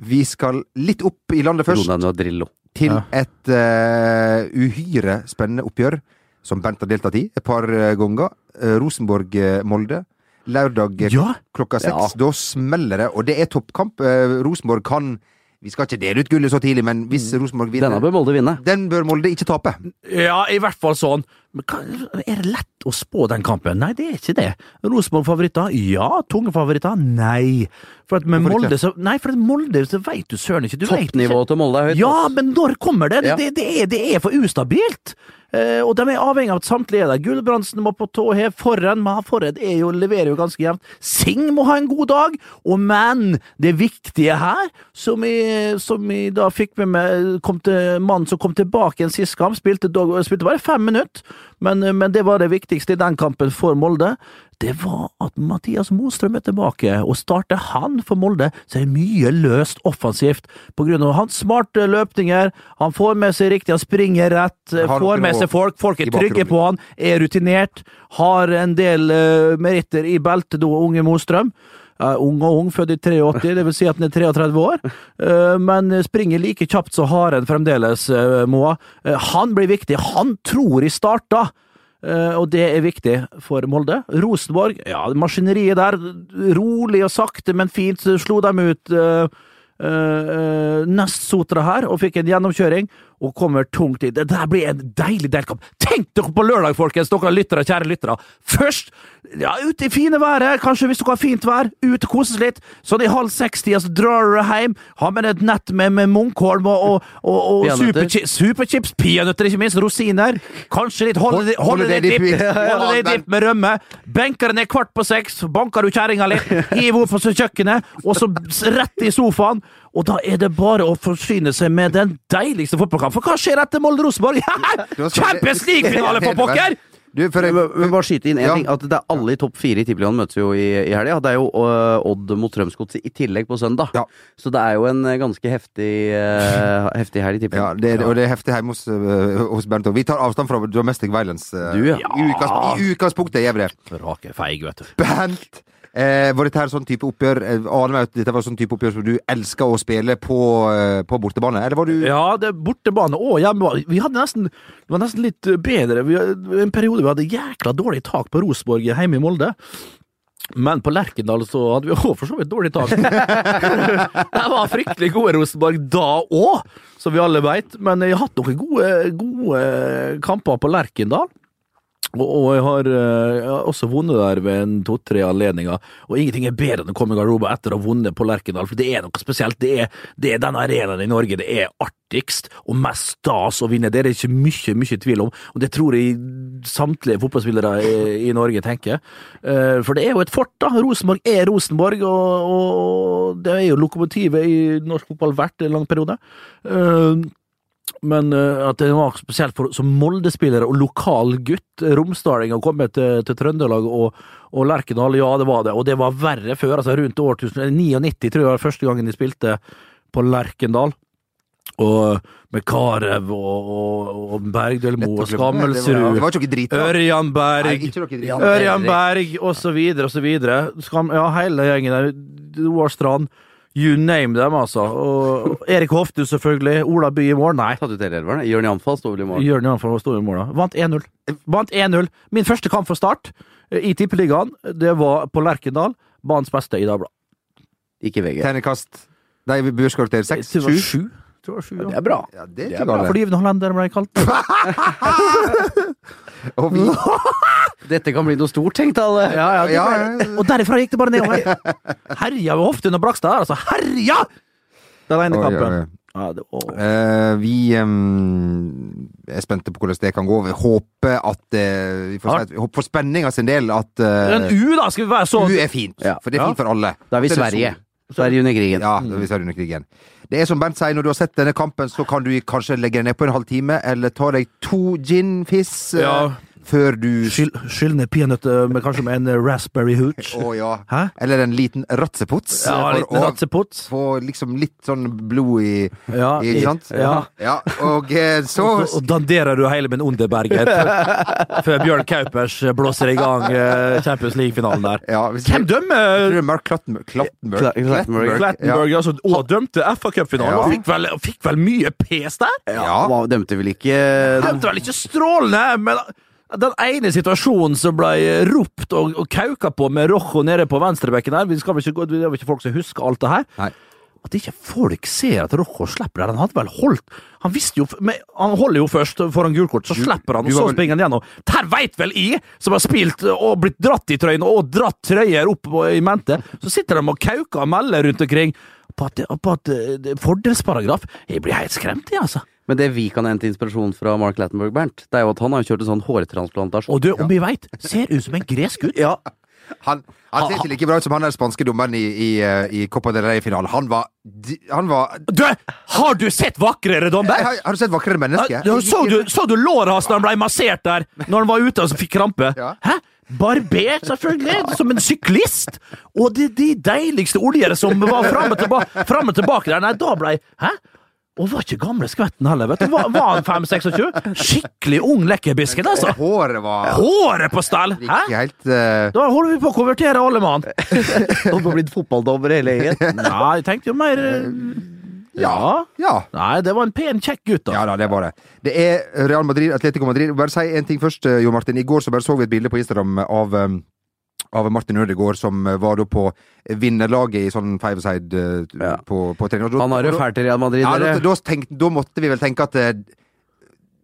vi skal litt opp i landet først, Ronald og Drillo. til Ja. et eh, uhyre spennende oppgjør som Bent har deltatt i et par eh, ganger. Eh, Rosenborg-Molde. Lørdag eh, Ja. klokka Ja. seks. Da smeller det, og det er toppkamp. Eh, Rosenborg kan Vi skal ikke dele ut gullet så tidlig, men hvis Rosenborg Mm. Denne vinner bør Molde vinne. Den bør Molde ikke tape. Ja, i hvert fall sånn. Men hva, er det lett å spå den kampen? Nei, det er ikke det. Rosenborg-favoritter? Ja. Tunge favoritter? Nei. For at med Hvorfor Molde så Nei, for at Molde så veit du søren ikke. Du vet ikke. Toppnivået til Molde er høyt. Ja, ass. men når kommer det? Det, Ja. det, det, er, det er for ustabilt. Eh, og de er avhengig av at samtlige er der. Gulbrandsen må på tå hev. Forren men han forren er jo, leverer jo ganske jevnt. Singh må ha en god dag. Og men, det viktige her, som jeg, som jeg da fikk med meg kom til, Mannen som kom tilbake en sist kamp, spilte, dog, spilte bare fem minutter, men, men det var det viktigste i den kampen for Molde. Det var at Mathias Mostrøm er tilbake, og starter han for Molde, så er det mye løst offensivt. På grunn av hans smarte løpninger, han får med seg riktig, han springer rett, Har får noen med å- seg folk, folk i er trygge bakrommet. på han, er rutinert, har en del eh, meritter i beltet, da, unge Mostrøm. Eh, ung og ung, født i 83, det vil si at han er 33 år, eh, men springer like kjapt som haren fremdeles, eh, Moa. Eh, han blir viktig, han tror i starta. Eh, Og det er viktig for Molde. Rosenborg, ja, maskineriet der, rolig og sakte, men fint, så slo dem ut eh, eh, Nestsotra her og fikk en gjennomkjøring, og kommer tungt inn. Det der blir en deilig delkamp. Tenk dere på lørdag, folkens, dere lyttere, kjære lyttere. Først, ja, ute i fine været, kanskje hvis dere har fint vær, ut og koses litt. Sånn i halv seks-tida så drar dere hjem, har med et nett med, med Munkholm og, og, og, og Peanøtter. superchi- superchips, peanøtter, ikke minst, rosiner. Kanskje litt hold Holiday, Holiday holiday dip, dip. Ja, ja, holiday den- dip med rømme. Benker den ned kvart på seks, banker du kjerringa litt, hiver henne på kjøkkenet, og så s- rett i sofaen. Og da er det bare å forsyne seg med den deiligste fotballkampen. For hva skjer etter Molde Rosenborg? Da skal- Champions League-finale, for pokker! Du, for- Men men bare skyte inn en Ja. ting. At det er alle i topp fire i Tippeligaen møtes jo i, i helga. Det er jo øh, Odd mot Strømsgodset i tillegg på søndag. Ja. Så det er jo en øh, ganske heftig, øh, heftig helg Ja, i Tippeligaen. det, er- og det er heftig hjemme hos, øh, hos Bernt. Og vi tar avstand fra domestic violence. øh, Du, ja. I, utgangs- I utgangspunktet gjør vi det. Rake feig, vet du. Bernt, eh, var dette her sånn type oppgjør eh, Aner meg at dette var sånn type oppgjør som du elsker å spille på, eh, på bortebane? Eller var du Ja, det er bortebane og hjemmebane. Vi hadde nesten, det var nesten litt eh, bedre. Vi, en periode vi hadde jækla dårlig tak på Rosenborg hjemme i Molde. Men på Lerkendal så hadde vi òg for så vidt dårlig tak. De var fryktelig gode Rosenborg da òg, som vi alle veit. Men jeg har hatt noen gode, gode kamper på Lerkendal. Og, og jeg, har, eh, jeg har også vunnet der ved en to-tre anledninger. Og ingenting er bedre enn å komme i garderoben etter å ha vunnet på Lerkendal, for det er noe spesielt. Det er, det er den arenaen i Norge det er artigst og mest stas å vinne. Det er det ikke mye, mye tvil om, og det tror jeg samtlige fotballspillere i, i Norge tenker. Eh, For det er jo et fort, da. Rosenborg er Rosenborg, og, og det er jo lokomotivet i norsk fotball vært i en lang periode. Eh, men eh, at det var spesielt for, som Molde-spiller og lokal gutt, eh, romsdaling, å komme til, til Trøndelag og, og Lerkendal, ja det var det. Og det var verre før, altså rundt årtusen, 99 tror jeg var første gangen de spilte på Lerkendal. Og med Karev og, og, og Bergdølmo og Det var, det Eh, Skammelsrud. var ikke noe drit. da. Ørjan Nei, Berg. ikke noe drit. Ørjan Berg, og så videre, og så videre. Skam, ja, hele gjengen der. Roar Strand. You name them, altså. Og Erik Hoftu, selvfølgelig. Ola By i mål. Nei. Tatt ut hele elveren. Jørn Jamfall står vel i morgen. Jørn Johansen var stor i mål, da. Vant 1-0. Vant 1-0. Min første kamp for Start eh, i Tippeligaen, det var på Lerkendal. Banens beste i Dagbladet. Ikke VG. Terningkast Eh, Nei, børskarakter seks? Det var Sju? sju. Det var sju, Det ja. er bra. Ja, det er Det ikke er Ja, galt. Fordrivende hollender ble jeg kalt. Og vi Dette kan bli noe stort, tenkte alle. Ja, ja, det Ja, ble- ja. Og derifra gikk det bare nedover. Herja med Hoftun og Bragstad der, altså. Herja! Den Oi, oi, ene oi. kampen. Ja, det, å. Eh, vi ehm, er spente på hvordan det kan gå. Vi håper at eh, vi får Ja. si at, vi håper For spenninga sin del at eh, Men U, da! Skal vi være så U er fint. Ja. For det er fint for alle. Da er vi Så det Sverige. sol. Sverige under krigen. Ja, Mm. da er vi Sverige under krigen. Det er som Bernt sier, når du har sett denne kampen, så kan du kanskje legge deg ned på en halv time, eller ta deg to gin-fiss eh, Ja. før du Skyll, skyll ned peanøtter med kanskje med en eh, raspberry hooch. Å ja. Hæ? Eller en liten ratsepots. Ja, for litt å natsepott. få liksom litt sånn blod i Ja, Ikke sant? Ja. ja. Og eh, så Og, og danderer du hele min Underberger før- før Bjørn Kaupers blåser i gang eh, Champions League-finalen der. ja, hvis- Jeg Hvem dømmer eh, tror det er Mark Clattenburg. Clattenburg. Cla- Clattenburg. Clattenburg, Clattenburg, altså, og dømte FA Cup-finalen? Ja. og Fikk, vel- fikk vel mye pes der? Ja. ja. Hva dømte vel ikke Eh, Dømte vel ikke strålende, men den ene situasjonen som ble ropt og, og kauka på med Rojo nede på venstrebekken her, vi skal vel ikke, gå- det er vel ikke folk som husker alt det her, Nei. at ikke folk ser at Rojo slipper der. Han hadde vel holdt Han visste jo men Han holder jo først foran gult kort, så slipper han, du og så var vel- springer han gjennom. Der veit vel jeg, som har spilt eh, og blitt dratt i trøyene og dratt trøyer opp i mente, så sitter de og kauker og melder rundt omkring på at, på at eh, Fordelsparagraf Jeg blir helt skremt, jeg, altså. Men det vi kan hente inspirasjon fra Mark Lattenberg, Bernt, det er jo at han har jo kjørt en sånn hårtransplantasjon. Og du, om vi veit, ser ut som en gresk gutt. Ja. Han, han ser ikke like bra ut som han der spanske dommeren i, i, eh, i Copa del Rey-finalen. Han var di- Han var Du, har du sett vakrere Nei, dommer? har, har du sett vakrere mennesker? Ja, Så du, så du låret hans da han ble massert der, når han var ute og så fikk krampe? Ja. Hæ? Barbert, selvfølgelig, som en syklist! Og de, de deiligste oljere som var fram og, tilba fram og tilbake der. Nei, da blei Hæ? Og var ikke gamle skvetten heller, vet du. Var, var han 5-26? Skikkelig ung lekkerbisken, altså! Og Håret var Håret på stell! Hæ? ikke helt eh, Da holder vi på å konvertere alle mann. Og har blitt fotballdommer hele gjengen. Ja, jeg tenkte jo mer eh, Ja. Ja. Nei, det var en pen, kjekk gutt, da. Ja da, det var det. Det er Real Madrid, Atletico Madrid. Bare si en ting først, eh, Jo Martin. I går så bare så vi et bilde på Instagram av um, av Martin Ødegaard som eh, var da på vinnerlaget i sånn fiveside uh, Ja. på, på trening. Og da- Han har jo fælt i Real Madrid. Ja, da, dere. da, tenkte, da måtte vi vel tenke at eh,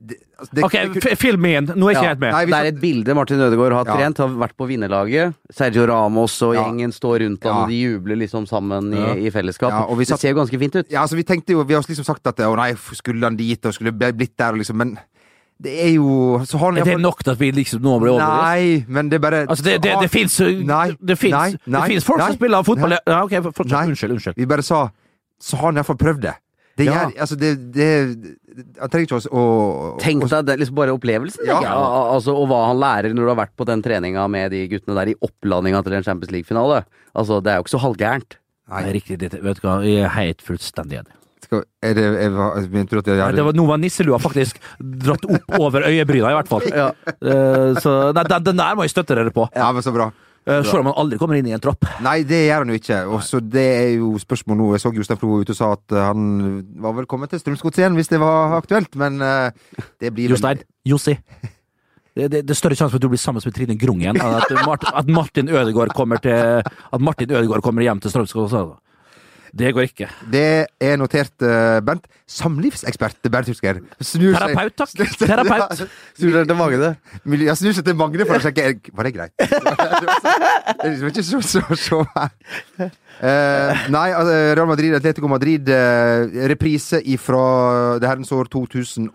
det, altså, det, Ok, f- film igjen. Nå er ikke Ja. jeg helt med. Nei, vi Det er et bilde Martin Ødegaard har Ja. trent. Har vært på vinnerlaget. Sergio Ramos og Ja. gjengen står rundt ham, Ja. og de jubler liksom sammen i, Ja. i fellesskap. Ja, og vi satt- Det ser jo ganske fint ut. Ja, altså, vi tenkte jo Vi har liksom sagt at Å nei, skulle han dit, og skulle blitt der, og liksom Men det er jo så har han Er det nok til at vi liksom nå blir overbevist? Nei, men det er bare Ah, Altså, det, det, det fins Nei, Det nei, fins det nei, fins folk nei, som spiller fotball nei. ja, ok, fortsett. Nei. Unnskyld, unnskyld. Vi bare sa Så har han iallfall prøvd det. Det Ja. gjør Altså, det, det Han trenger ikke å, å, å Tenk deg det, liksom bare opplevelsen, Ja. tenker jeg. Al- altså, og hva han lærer når du har vært på den treninga med de guttene der i opplandinga til en Champions League-finale. Altså, Det er jo ikke så halvgærent. Det er riktig, det, vet du hva, jeg er helt fullstendig enig. skal, er det, jeg, var- jeg begynte at jeg Nei, det var, nå var nisselua faktisk dratt opp over øyebryna, i hvert fall. Ja. Eh, så nei, den, den der må jeg støtte dere på. Ja, men så bra. Eh, Selv om han aldri kommer inn i en tropp. Nei, det gjør han jo ikke. Og så det er jo spørsmål nå. Jeg så Jostein Flo ute og sa at eh, han var vel kommet til Strømsgodset igjen hvis det var aktuelt, men eh, det blir vel- Jostein. Jossi. Det, det, det er større sjanse for at du blir sammen med Trine Grung igjen. enn At Martin, at Martin, Ødegaard, kommer til, at Martin Ødegaard kommer hjem til Strømskog. Det går ikke. Det er notert, eh, Bernt. Samlivsekspert Bernt Husker. Snur seg- Terapeut, takk. Terapeut. Snur til Magne. Miljø- Jeg snur seg til Magne for å sjekke er- Var det greit. Det er liksom ikke så, så, så her. Eh, nei, altså, Real Madrid, Atletico Madrid, eh, reprise ifra det herrens år 2013.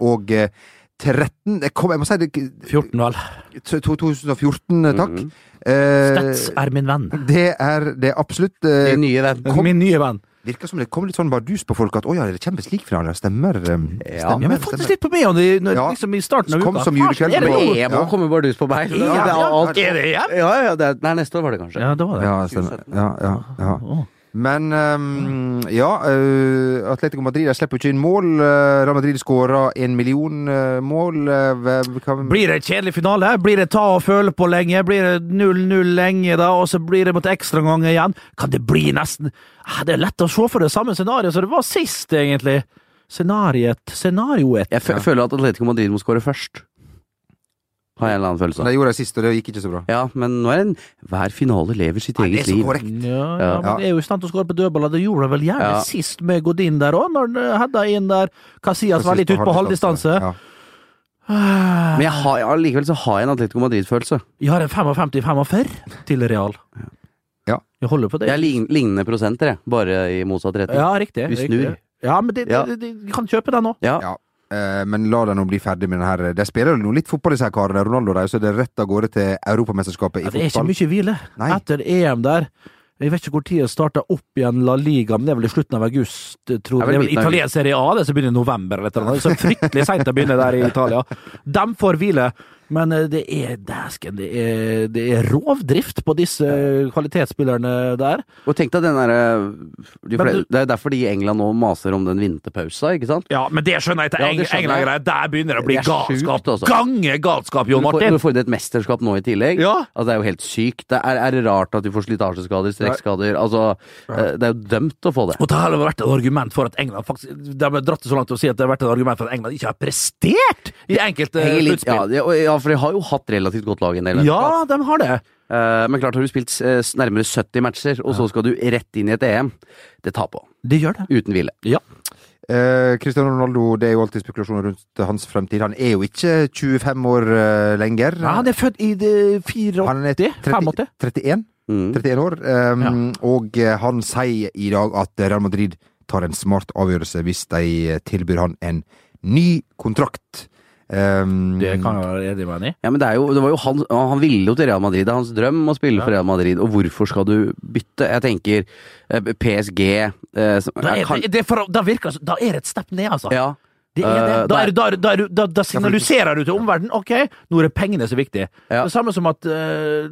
Det kom, jeg må si det 14, vel. 2014, eh, takk. Eh, Stets Mhm. er min venn. det er det absolutt. eh, Din nye venn. Kom. Min nye venn. virker som det kom litt sånn bardus på folk at å ja, det er Champions League-finale. Stemmer. eh, Ja, Ja, men faktisk litt på meg om det når- Ja. liksom i starten av Kom uka. som julekveld Er det på- EM? Ja. EM ja. kommer bardus på meg. Ja, det er ja. alt. Er det EM? Ja, ja, det er, nei, neste år var det kanskje. Ja, det var det. Ja, stemmer. Ja, ja, ja. Å. Men ehm, ja, eh, Atletico Madrid de slipper jo ikke inn mål. Eh, Real Madrid skåra en million eh, mål. Eh, hva- hva- Blir det kjedelig finale? Blir det ta og føle på lenge? Blir det 0-0 lenge, da, og så blir det mot ekstraomganger igjen? Kan det bli nesten Ah, Det er lett å se for det samme scenarioet som det var sist, egentlig. Scenariet Scenarioet. Jeg fø- føler at Atletico Madrid må score først. Har jeg en eller annen følelse av. Det gjorde de sist, og det gikk ikke så bra. Ja, men nå er en, hver finale lever sitt Nei, det eget er så liv. korrekt. Ja, ja, Ja. men det er jo i stand til å skåre på dødballer. Det gjorde de vel gjerne Ja. sist med Godin der òg, når eh, Hedda inn der. Casillas var Altså, litt ute på halvdistanse. Ja. Men jeg har, ja, likevel så har jeg en Atletico Madrid-følelse. Jeg har en 55-45 til Real. Ja. Jeg holder på det. Jeg er lign- lignende prosenter, jeg. Bare i motsatt retning. Ja, riktig. Vi riktig. snur. Ja, men de, de, Ja. de, de kan kjøpe den nå. Ja. Ja. Eh, Men la dem nå bli ferdig med den her. De spiller jo litt fotball, disse her karene. Ronaldo de, så det er rett av gårde til Europamesterskapet i Ja, det er ikke fotball. mye hvile. Nei. Etter EM der Jeg vet ikke hvor tid det starta opp igjen La Liga, men det er vel i slutten av august. eh, Tror Det jeg. Det er er vel vel midten av italiensk Serie A, det som begynner i november eller et eller annet. Så fryktelig seint å begynne der i Italia. De får hvile. Men eh, det er dæsken, det er, det er rovdrift på disse eh, kvalitetsspillerne der. Og tenk deg den derre de Men fle- du- Det er derfor de i England nå maser om den vinterpausa, ikke sant? Ja, men det skjønner jeg Ja, det skjønner jeg. England-greia. Der begynner det å bli Det er sjukt, galskap. altså. Gange galskap, Du Jon får, Martin! du får inn et mesterskap nå i tillegg. Ja. Altså, det er jo helt sykt. Det er, er det rart at de får slitasjeskader, strekkskader Altså, eh, det er jo dømt å få det. Og det har det vært et argument for at England faktisk, De har dratt det så langt å si at det har vært et argument for at England ikke har prestert i enkelte Henger litt, ja, sluttspill. de, og- ja, for de har jo hatt relativt godt lag en del. Ja, de har det. Eh, men klart har du spilt eh, s- nærmere 70 matcher, og så skal du rett inn i et EM. Det tar på. De gjør det. Uten hvile. Ja. Eh, Cristiano Ronaldo, det er jo alltid spekulasjoner rundt hans fremtid. Han er jo ikke 25 år eh, lenger. Nei, han er født i det 84 Han er 85? 31, Mm. 31 år. Um, Og eh, han sier i dag at Real Madrid tar en smart avgjørelse hvis de tilbyr han en ny kontrakt. Um, Det kan jeg være enig med han i. Ja, men det, er jo, det var jo han, han ville jo til Real Madrid. Det er hans drøm å spille for Real Madrid. Og hvorfor skal du bytte? Jeg tenker eh, PSG eh, som, Da jeg er, kan- det, det er for, da, virker, det som- da er det et step ned, altså. Ja. Det er det. Da, Eh, er, du- da, er, du- da, er, du- da, da signaliserer du til omverdenen ok, nå er det pengene som er viktig. Ja. Det samme som at eh,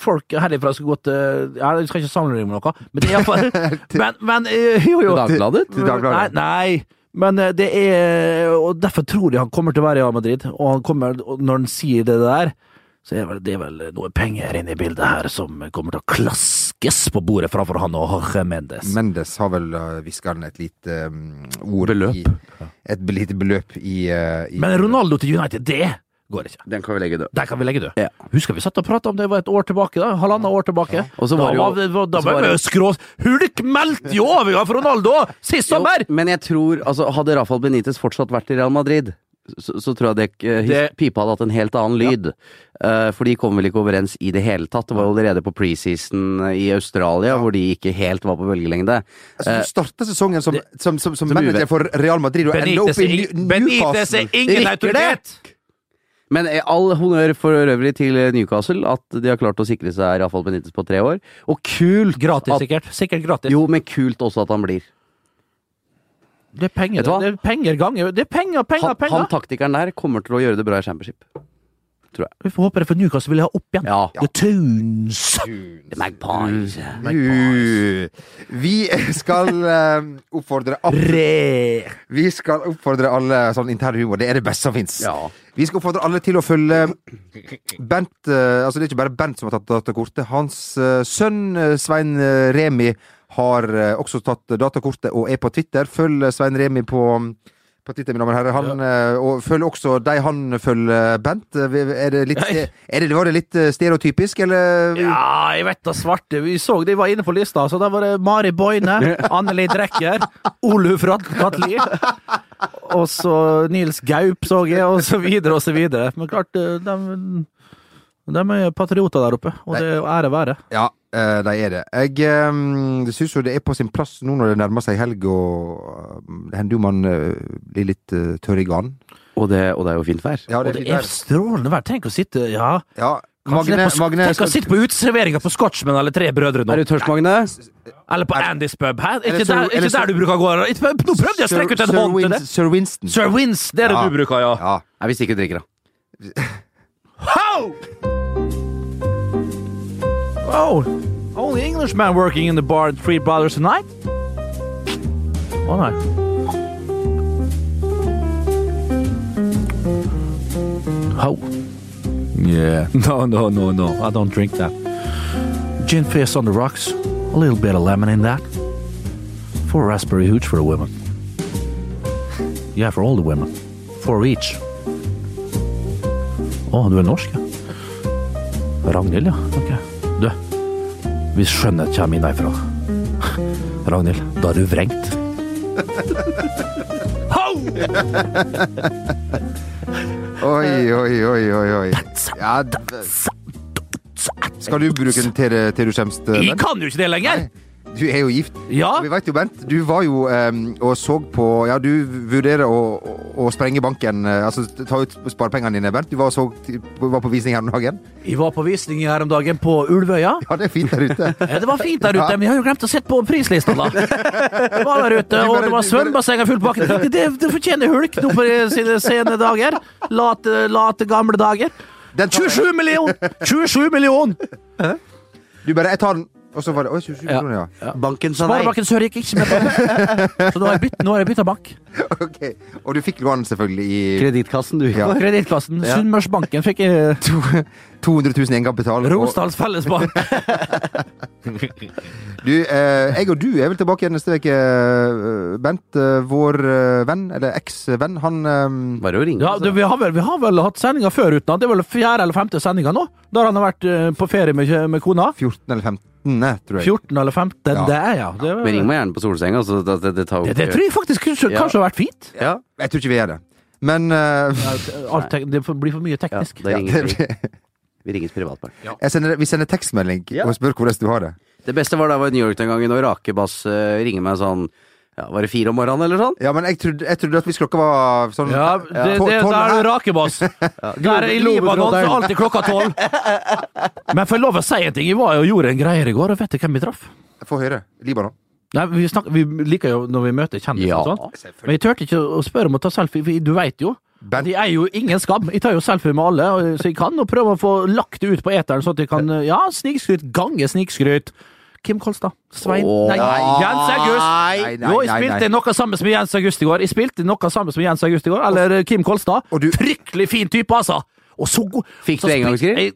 folk herifra skal gå til ja, Jeg skal ikke sammenligne med noe, men det er iallfall Men, men eh, jo, jo. Dagbladet? Til Dagbladet. Nei, nei. Men eh, det er Og derfor tror jeg han kommer til å være i Real Madrid. Og han kommer, og når han sier det der, så er vel, det er vel noe penger inne i bildet her som kommer til å klaskes på bordet framfor han og Jorge Mendes. Mendes har vel uh, hviska han et lite um, ord Beløp. I, et be- lite beløp i, uh, i Men Ronaldo til United, det går ikke. Den kan vi legge død. Der kan vi legge død. Ja. Husker vi satt og prata om det var et år tilbake? da, Halvannet år tilbake. Og så var da det jo- var, vi- da så var var vi det- skrå... Hulk meldte jo over for Ronaldo sist sommer! Jo, men jeg tror altså, Hadde Rafael Benitez fortsatt vært i Real Madrid, så, så tror jeg det, eh, his- Det- pipa hadde hatt en helt annen lyd. Eh, for de kom vel ikke overens i det hele tatt. Det var jo allerede på preseason eh, i Australia hvor de ikke helt var på bølgelengde. altså, Du starta sesongen som, som, som, som, som manager uve- for Real Madrid og ender opp Benitez i er- New- Benitez Newcastle. er ingen Rykker det? autoritet! Men eh, all honnør for øvrig til eh, Newcastle, at de har klart å sikre seg Rafael Benitez på tre år. Og kult Gratis, at, sikkert. Sikkert gratis. Jo, men kult også at han blir. Det er penger, Vet du hva? det er penger ganger. Det er penger, penger, Han, penger! han taktikeren der kommer til å gjøre det bra i championship. Vi får håpe det, for Newcastle vil jeg ha opp igjen. Ja. The Tunes! Magpies. Uh, Vi skal eh, oppfordre absolutt Re. Vi skal oppfordre alle sånn intern humor. Det er det beste som fins. Ja. Vi skal oppfordre alle til å følge Bent eh, Altså, det er ikke bare Bent som har tatt datakortet. Hans eh, sønn eh, Svein eh, Remi har eh, også tatt datakortet og er på Twitter. Følg eh, Svein Remi på på Twitter, mine damer og herrer. Han, eh, og følg også de han følger, Bent. Eh, Er det litt, Nei. er det, var det litt eh, stereotypisk, eller? Ja, jeg vet da svarte. Vi så de var inne på lista, så der var det Mari Boine, Anneli Drekker, Oluf Katli, og så Nils Gaup, så jeg, og så videre og så videre. Men klart, de, de er patrioter der oppe, og det er jo ære være. Ja, eh, de er det. Jeg um, syns jo det er på sin plass nå når det nærmer seg helg, og eh, det hender jo man eh, blir litt eh, tørr i ganen. Og det, og det er jo fint vær. Ja, Og det er strålende vær. Tenk å sitte ja, ja. kanskje Magne, det er på, Magne Tenk å sitte på uteserveringa på Scotchman eller Tre brødre nå. Er du tørst, Magne? Eller på Andys pub. Hæ? Ikke, Eller Sir- der, ikke eller Sir- der du bruker å gå? Ikke- Nå prøvde jeg å strekke ut en Sir- hånd til Win- det. Sir Winston. Sir Wins, det er det Ja. du bruker, ja. Ja. Nei, hvis ikke du drikker, da. How? Oh, only Englishman working in the bar at Three Brothers tonight? Å nei. How? Yeah. No, no, no, no. Oh. I don't drink that. Gin fizz on the rocks. A little bit of lemon in that. Four raspberry hooch for the women. Yeah, for all the women. Four each. Å, du er norsk, ja. Ragnhild, ja. Ok. Du, vi skjønner at jeg kommer inn derfra. Ragnhild, da er du vrengt. Oi, oi, oi, oi. oi. Ja, d- skal du bruke den til, til du kommer, Jeg Bent? kan jo ikke det lenger! Du Du er jo gift. Ja! Og Vi vet jo, Bent, du var jo ehm, og så på Ja, du vurderer å, å- å sprenge banken, eh, altså ta ut sparepengene dine, Bent. Du var, og så, var på visning her om dagen. Vi var på visning her om dagen på Ulvøya. Ja, det er fint der ute. Ja, det var fint der ute, men jeg har jo glemt å sette på prislista, da. Det var der ute, og det var svømmebasseng og full pakke. Det, det, det fortjener Hulk nå på sine sene dager. Late, late gamle dager. Den tar jeg. 27 million! 27 million! Du bare Jeg tar den. Og så var det Oi, 27 Ja. kroner, ja. Banken sa nei. Sparebanken Sør gikk ikke med på det. Så nå har jeg bytt- nå har jeg bytta bank. Ok. Og du fikk lån, selvfølgelig, i Kredittkassen, du. Ja. Kredittklassen. Sunnmørsbanken fikk eh, jeg 200 000 i egenkapital. og- Romsdals Fellesbank. Du, eh, jeg og du er vel tilbake igjen neste uke, eh, Bent. Eh, vår eh, venn, eller eks-venn, han eh, Bare å ringe. Ja, altså. du, vi, har vel, vi har vel hatt sendinger før uten han. Det er vel fjerde eller femte sendinga nå, der han har vært eh, på ferie med, med kona. 14 eller 15, nei, tror jeg. 14 eller 15, Ja. det er ja. Det, Men ring meg gjerne på solsenga, så det, det, det tar det, det tror jeg faktisk kanskje, Ja. kanskje har vært fint. Ja, Jeg tror ikke vi er det. Men eh, Alt tek- det blir for mye ja, teknisk. da ringer vi. Vi ringes privatpart. jeg sender, vi sender tekstmelding Ja. og spør hvordan du har det. Det beste var da jeg var i New York den gangen, og Rakebass uh, ringer meg sånn ja, Var det fire om morgenen, eller sånn? Ja, men jeg trodde, jeg trodde at hvis klokka var sånn Ja, det, det, to- der tolv er du her- rakebass. Der er i Libanon så er alltid klokka tolv. Men får jeg lov å si en ting? Jeg var jo og gjorde en greier i går, og vet du hvem vi traff? Få høre. Libanon. Nei, vi, snakker, vi liker jo når vi møter kjendiser Ja. og sånt, men jeg turte ikke å spørre om å ta selfie, for du veit jo. Bent. De er jo ingen skam. Jeg tar jo selfie med alle og- så jeg kan, og prøver å få lagt det ut på eteren, sånn at jeg kan Ja, snikskryt. Gange snikskryt. Kim Kolstad. Svein Åh. Nei, Jens August. Nei, nei, Jo, jeg nei, spilte nei. noe sammen med Jens August i går. Jeg spilte noe sammen med Jens August i går, eller eh, Kim Kolstad. Og du- Fryktelig fin type, altså! Og så god Fikk så du spil- engangsgrill? Jeg- eh,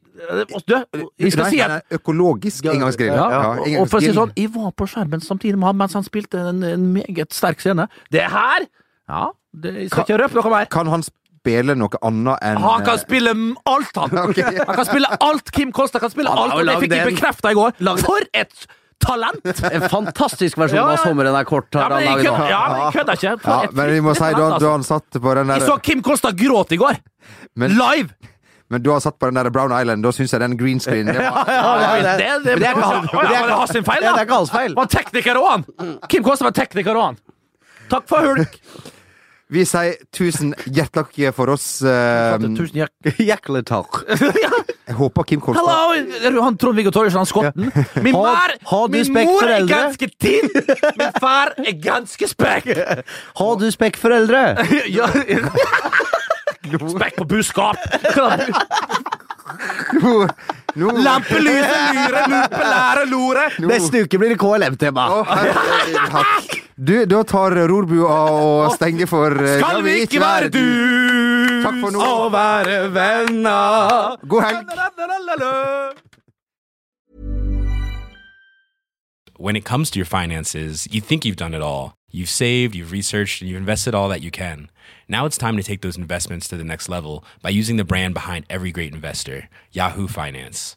Du, vi skal Nei, si at nei, Økologisk engangsgrill. Ja, ja, og- og for å si engangsgrill. sånn, jeg var på skjermen samtidig med ham mens han spilte en, en meget sterk scene. Det her Ja, det, jeg skal ikke røpe noe mer. Kan han spille noe annet enn Han kan spille m- alt, han! Ok. Han kan spille alt Kim Kolstad kan spille. Han har alt, jo og Det lagd fikk jeg en- bekrefta i går. For et talent! En fantastisk versjon Ja, ja. av 'Sommeren er kort' Ja, har men jeg han laget nå. kødder ja, men jeg kødder ikke. For eh, ja, et men vi må fryktelig si da talent, du altså. han satt på den Jeg så der Kim Kolstad gråte i går! men, Live! men du har satt på den der Brown Island, da syns jeg den green screen det var, det, det, det, det er ikke han. Å, ja, var det hans sin feil, Ja, da? det er ikke hans feil. Var tekniker òg, han! Kim Kolstad var tekniker òg, han. Takk for hulk. Vi sier tusen hjertelig takk for oss. eh, Tusen hjertelig Jækla takk. Jeg håper Kim Hallo! Kolstad Er du han Trond-Viggo Torgersen, han skotten? Min, Ha- mar, ha min respekt mor for er eldre. ganske tinn! Min far er ganske spekk! Har du spekk for eldre? Ja. Spekk på buskap! Nå- nå- Lampelyse, lyre, lupe, lære, lore! Neste uke blir det KLM-tema. Å, herregud. Du, da tar rorbua og stenger for eh, Skal Ja, vi ikke være dus Takk for nå. og være venner? God helg. When it comes to your finances, you think you've done it all. You've saved, you've researched, and you've invested all that you can. Now it's time to take those investments to the next level by using the brand behind every great investor, Yahoo Finance.